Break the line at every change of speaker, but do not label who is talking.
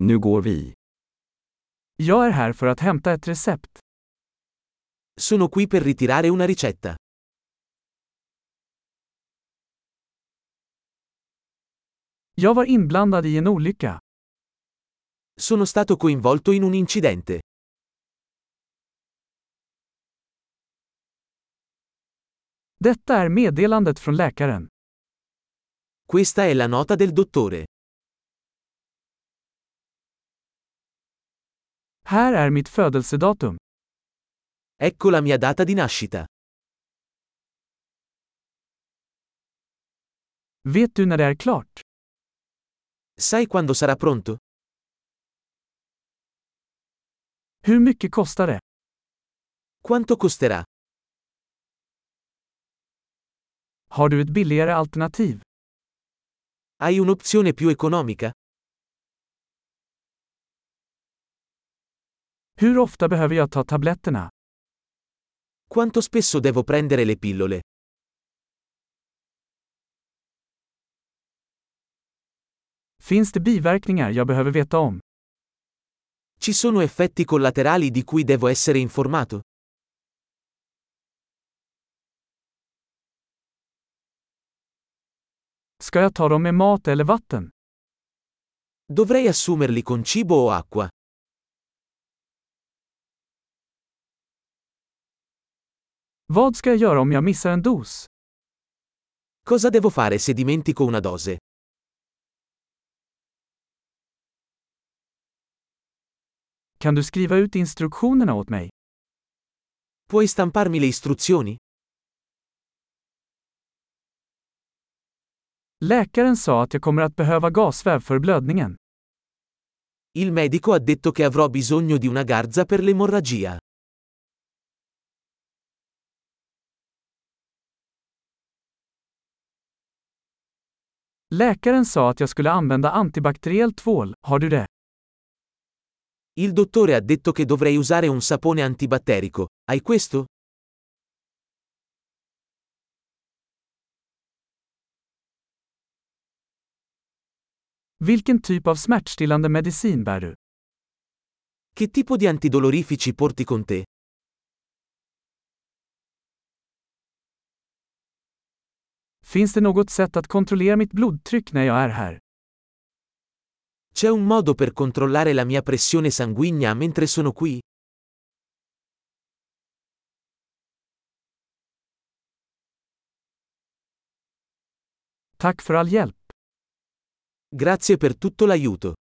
Nu går vi.
Jag är här för att hämta ett recept.
Sono qui per ritirare una ricetta.
Jag var inblandad i en olycka.
Sono stato coinvolto in un incidente.
Detta är meddelandet från läkaren.
Questa è la nota del dottore.
Här är mitt födelsedatum.
Ecco la mia data di nascita.
Vet du när det är klart?
Sai quando sarà pronto?
Hur mycket kostar det?
Quanto costerà?
Har du ett billigare alternativ?
Hai un'opzione più economica?
Hur ofta behöver jag ta tabletterna?
Quanto spesso devo prendere le pillole?
Finns det biverkningar jag behöver veta om?
Ci sono effetti collaterali di cui devo essere informato?
Ska jag ta dem med mat eller vatten?
Dovrei assumerli con cibo o acqua?
Vad ska jag göra om jag missar en dos?
Cosa devo fare se dimentico una dose?
Kan du skriva ut instruktionerna åt mig?
Puoi stamparmi le istruzioni?
Läkaren sa att jag kommer att behöva gasväv för blödningen.
Il medico ha detto che avrò bisogno di una garza per l'emorragia.
Läkaren sa att jag skulle använda antibakteriell tvål, har du det?
Il dottore ha detto che dovrei usare un sapone antibatterico. Hai questo?
Vilken typ av smärtstillande medicin bär du?
Che tipo di antidolorifici porti con te?
Finns det något sätt att kontrollera mitt blodtryck när jag är här?
C'è un modo per controllare la mia pressione sanguigna mentre sono qui?
Tack för all hjälp.
Grazie per tutto l'aiuto.